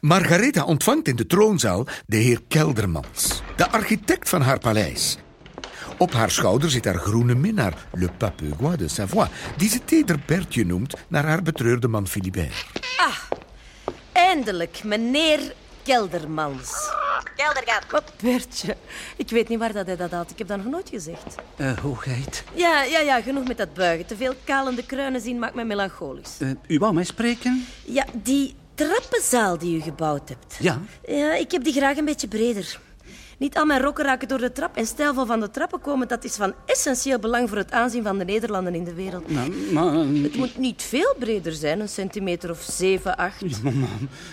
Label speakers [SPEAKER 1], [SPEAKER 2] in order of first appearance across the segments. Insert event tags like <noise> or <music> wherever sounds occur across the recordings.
[SPEAKER 1] Margaretha ontvangt in de troonzaal de heer Keldermans, de architect van haar paleis. Op haar schouder zit haar groene minnaar, le Papegoi de Savoie, die ze teder Bertje noemt naar haar betreurde man Philibert.
[SPEAKER 2] Eindelijk, meneer Keldermans.
[SPEAKER 3] Keldergat.
[SPEAKER 2] Maar Bertje, ik weet niet waar dat hij dat had. Ik heb dat nog nooit gezegd.
[SPEAKER 4] Eh, hoogheid,
[SPEAKER 2] Ja, ja, ja, genoeg met dat buigen. Te veel kalende kruinen zien maakt me melancholisch.
[SPEAKER 4] eh, u wou mij spreken?
[SPEAKER 2] Ja, die trappenzaal die u gebouwd hebt.
[SPEAKER 4] Ja.
[SPEAKER 2] Ja, ik heb die graag een beetje breder. Niet al mijn rokken raken door de trap en stijlvol van de trappen komen... dat is van essentieel belang voor het aanzien van de Nederlanden in de wereld.
[SPEAKER 4] Nou, maar, eh,
[SPEAKER 2] Het moet niet veel breder zijn, een centimeter of zeven, acht.
[SPEAKER 4] maar, maar,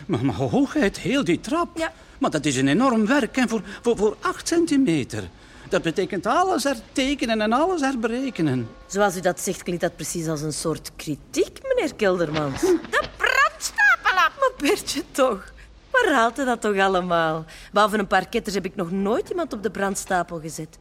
[SPEAKER 4] maar, maar hoogheid, heel die trap.
[SPEAKER 2] Ja.
[SPEAKER 4] Maar dat is een enorm werk en voor, voor, voor acht centimeter. Dat betekent alles hertekenen en alles herberekenen.
[SPEAKER 2] Zoals u dat zegt, klinkt dat precies als een soort kritiek, meneer Keldermans.
[SPEAKER 3] De pratstapelap.
[SPEAKER 2] Maar Bertje, toch. Waar haalt hij dat toch allemaal? Behalve een paar ketters heb ik nog nooit iemand op de brandstapel gezet.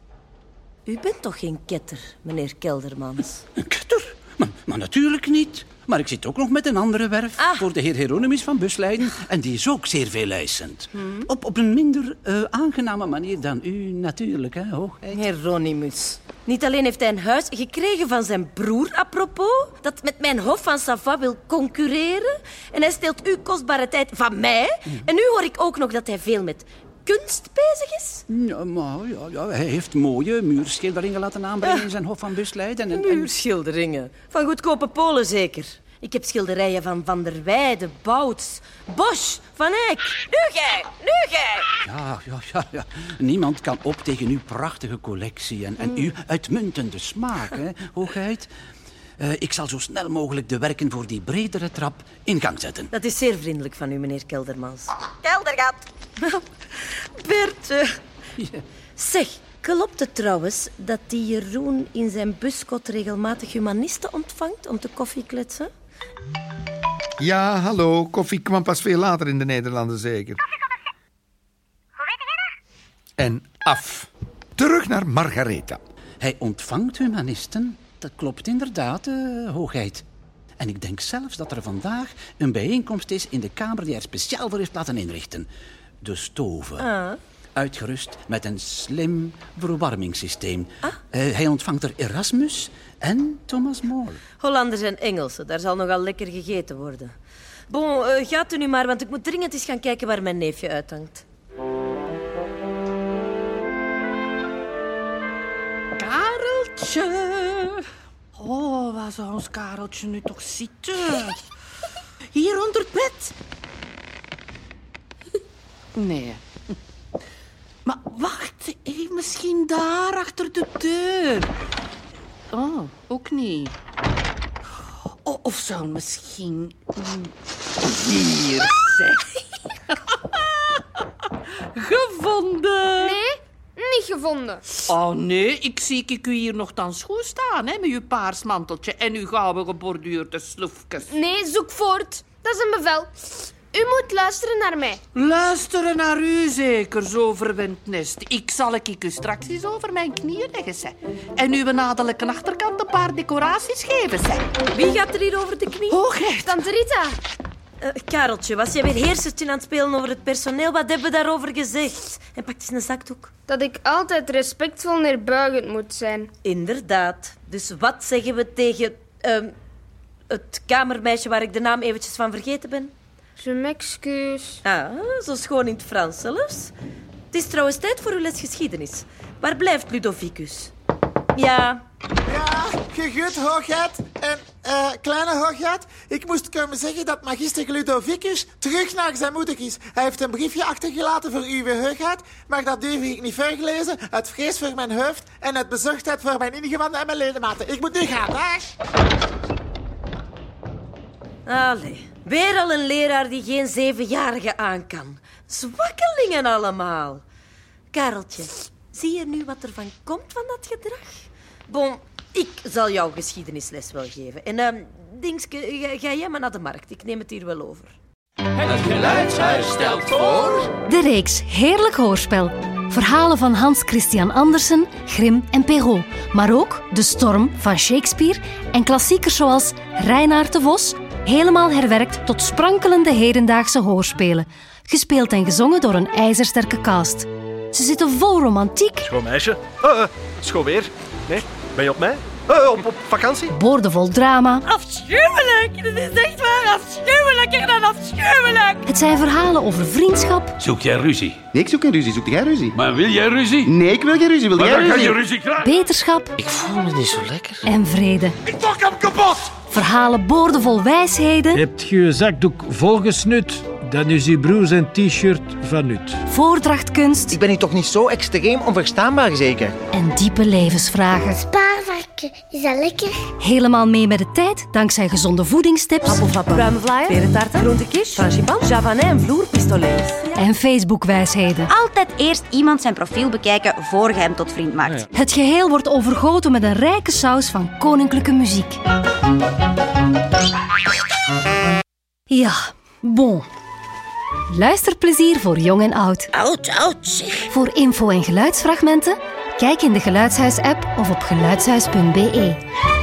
[SPEAKER 2] U bent toch geen ketter, meneer Keldermans?
[SPEAKER 4] Een ketter? Maar, maar natuurlijk niet. Maar ik zit ook nog met een andere werf
[SPEAKER 2] Ah.
[SPEAKER 4] voor de heer Hieronymus van
[SPEAKER 2] <laughs>
[SPEAKER 4] Busleiden. En die is ook zeer veel eisend.
[SPEAKER 2] Hmm.
[SPEAKER 4] Op, op een minder eh, aangename manier dan u natuurlijk, hè, hoogheid.
[SPEAKER 2] Hieronymus. Niet alleen heeft hij een huis gekregen van zijn broer, apropos, dat met mijn hof van Savoie wil concurreren. En hij steelt uw kostbare tijd van mij. En nu hoor ik ook nog dat hij veel met kunst bezig is.
[SPEAKER 4] Ja, maar ja, ja, hij heeft mooie muurschilderingen laten aanbrengen in zijn hof van Busleiden. En, en,
[SPEAKER 2] Muurschilderingen. Van goedkope Polen zeker. Ik heb schilderijen van Van der Weijden, Bouts, Bosch, Van Eyck.
[SPEAKER 3] Nu gij, nu gij.
[SPEAKER 4] ja, ja, ja, ja. Niemand kan op tegen uw prachtige collectie en, en uw uitmuntende smaak, hè, hoogheid. Eh, ik zal zo snel mogelijk de werken voor die bredere trap in gang zetten.
[SPEAKER 2] Dat is zeer vriendelijk van u, meneer Keldermans.
[SPEAKER 3] Keldergat.
[SPEAKER 2] Bertje. Zeg, klopt het trouwens dat die Jeroen in zijn buskot regelmatig humanisten ontvangt om te koffie kletsen?
[SPEAKER 5] Ja, hallo. Koffie kwam pas veel later in de Nederlanden, zeker.
[SPEAKER 1] En af. Terug naar Margaretha.
[SPEAKER 4] Hij ontvangt humanisten. Dat klopt inderdaad, eh, hoogheid. En ik denk zelfs dat er vandaag een bijeenkomst is in de kamer die hij speciaal voor heeft laten inrichten. De stoven. Uitgerust met een slim verwarmingssysteem. Eh, hij ontvangt er Erasmus en Thomas More.
[SPEAKER 2] Hollanders en Engelsen, daar zal nogal lekker gegeten worden. Bon, eh, gaat u nu maar, want ik moet dringend eens gaan kijken waar mijn neefje uithangt.
[SPEAKER 6] Kareltje. Oh, waar zou ons Kareltje nu toch zitten? Hier onder het bed? Nee. Maar wacht, even misschien daar achter de deur. Oh, ook niet. O- of zou misschien... Hier, zeg. Gevonden!
[SPEAKER 7] Nee, niet gevonden.
[SPEAKER 6] Oh nee, ik zie ik u hier nogthans goed staan, hè, met uw paars manteltje en uw gouden geborduurde sloefjes.
[SPEAKER 7] Nee, zoek voort. Dat is een bevel. U moet luisteren naar mij.
[SPEAKER 6] Luisteren naar u zeker, zo verwend nest. Ik zal ik u straks eens over mijn knieën leggen, zeg. En uw nadelijke achterkant een paar decoraties geven, zeg.
[SPEAKER 2] Wie gaat er hier over de knie?
[SPEAKER 6] Hoogheid.
[SPEAKER 7] Tante Rita,
[SPEAKER 2] Eh, Kareltje, was jij weer heersertje aan het spelen over het personeel? Wat hebben we daarover gezegd? En pak eens een zakdoek.
[SPEAKER 7] dat ik altijd respectvol neerbuigend moet zijn.
[SPEAKER 2] Inderdaad. Dus wat zeggen we tegen ehm, het kamermeisje waar ik de naam eventjes van vergeten ben?
[SPEAKER 7] Je m'excuse.
[SPEAKER 2] Ah, zo schoon in het Frans zelfs. Het is trouwens tijd voor uw les geschiedenis. Waar blijft Ludovicus? Ja,
[SPEAKER 8] Ja, gegut hoogheid en eh, kleine hoogheid. Ik moest komen zeggen dat magister Ludovicus terug naar zijn moeder is. Hij heeft een briefje achtergelaten voor uw hoogheid, maar dat durf ik niet vergelezen uit vrees voor mijn hoofd en uit bezorgdheid voor mijn ingewanden en mijn ledematen. Ik moet nu gaan, dag!
[SPEAKER 2] allee. Weer al een leraar die geen zevenjarige aan kan. Zwakkelingen allemaal. Kareltje, zie je nu wat er van komt van dat gedrag? Bon, ik zal jouw geschiedenisles wel geven. En ehm Dingske, ga, ga jij maar naar de markt. Ik neem het hier wel over.
[SPEAKER 9] De reeks Heerlijk Hoorspel. Verhalen van Hans Christian Andersen, Grimm en Perrault. Maar ook De Storm van Shakespeare en klassiekers zoals Reinaard de Vos, helemaal herwerkt tot sprankelende hedendaagse hoorspelen, gespeeld en gezongen door een ijzersterke cast. Ze zitten vol romantiek,
[SPEAKER 10] Schoon meisje. Eh, eh, schoon weer. Nee, ben je op mij? Eh, op, op vakantie?
[SPEAKER 9] boordevol drama.
[SPEAKER 2] Afschuwelijk! Dit is echt waar afschuwelijker dan afschuwelijk!
[SPEAKER 9] Het zijn verhalen over vriendschap,
[SPEAKER 11] Zoek jij ruzie?
[SPEAKER 12] Nee, ik zoek geen ruzie. Zoek jij ruzie?
[SPEAKER 11] Maar wil jij ruzie?
[SPEAKER 12] Nee, ik wil geen ruzie. Wil
[SPEAKER 11] Maar
[SPEAKER 12] jij
[SPEAKER 11] dan
[SPEAKER 12] ruzie?
[SPEAKER 11] ga je ruzie krijgen.
[SPEAKER 9] beterschap
[SPEAKER 11] Ik voel me niet zo lekker.
[SPEAKER 9] en vrede.
[SPEAKER 11] Ik pak hem kapot!
[SPEAKER 9] Verhalen boordevol wijsheden,
[SPEAKER 13] Hebt je je zakdoek volgesnut? Dan is je broer zijn t-shirt van nut.
[SPEAKER 9] voordrachtkunst
[SPEAKER 14] Ik ben hier toch niet zo extreem onverstaanbaar, zeker?
[SPEAKER 9] en diepe levensvragen.
[SPEAKER 7] Spaarvarken, is dat lekker?
[SPEAKER 9] Helemaal mee met de tijd dankzij gezonde voedingstips. Appelflappen,
[SPEAKER 2] Bruimvlaaien, perentaarten, groentekies, frangipan, javanin en vloerpistolets.
[SPEAKER 9] en Facebookwijsheden.
[SPEAKER 3] Altijd eerst iemand zijn profiel bekijken voor je hem tot vriend maakt.
[SPEAKER 9] Het geheel wordt overgoten met een rijke saus van koninklijke muziek. Ja, bon. Luisterplezier voor jong en oud.
[SPEAKER 3] Oud, oud, zeg.
[SPEAKER 9] Voor info en geluidsfragmenten, kijk in de Geluidshuis-app of op geluidshuis.be.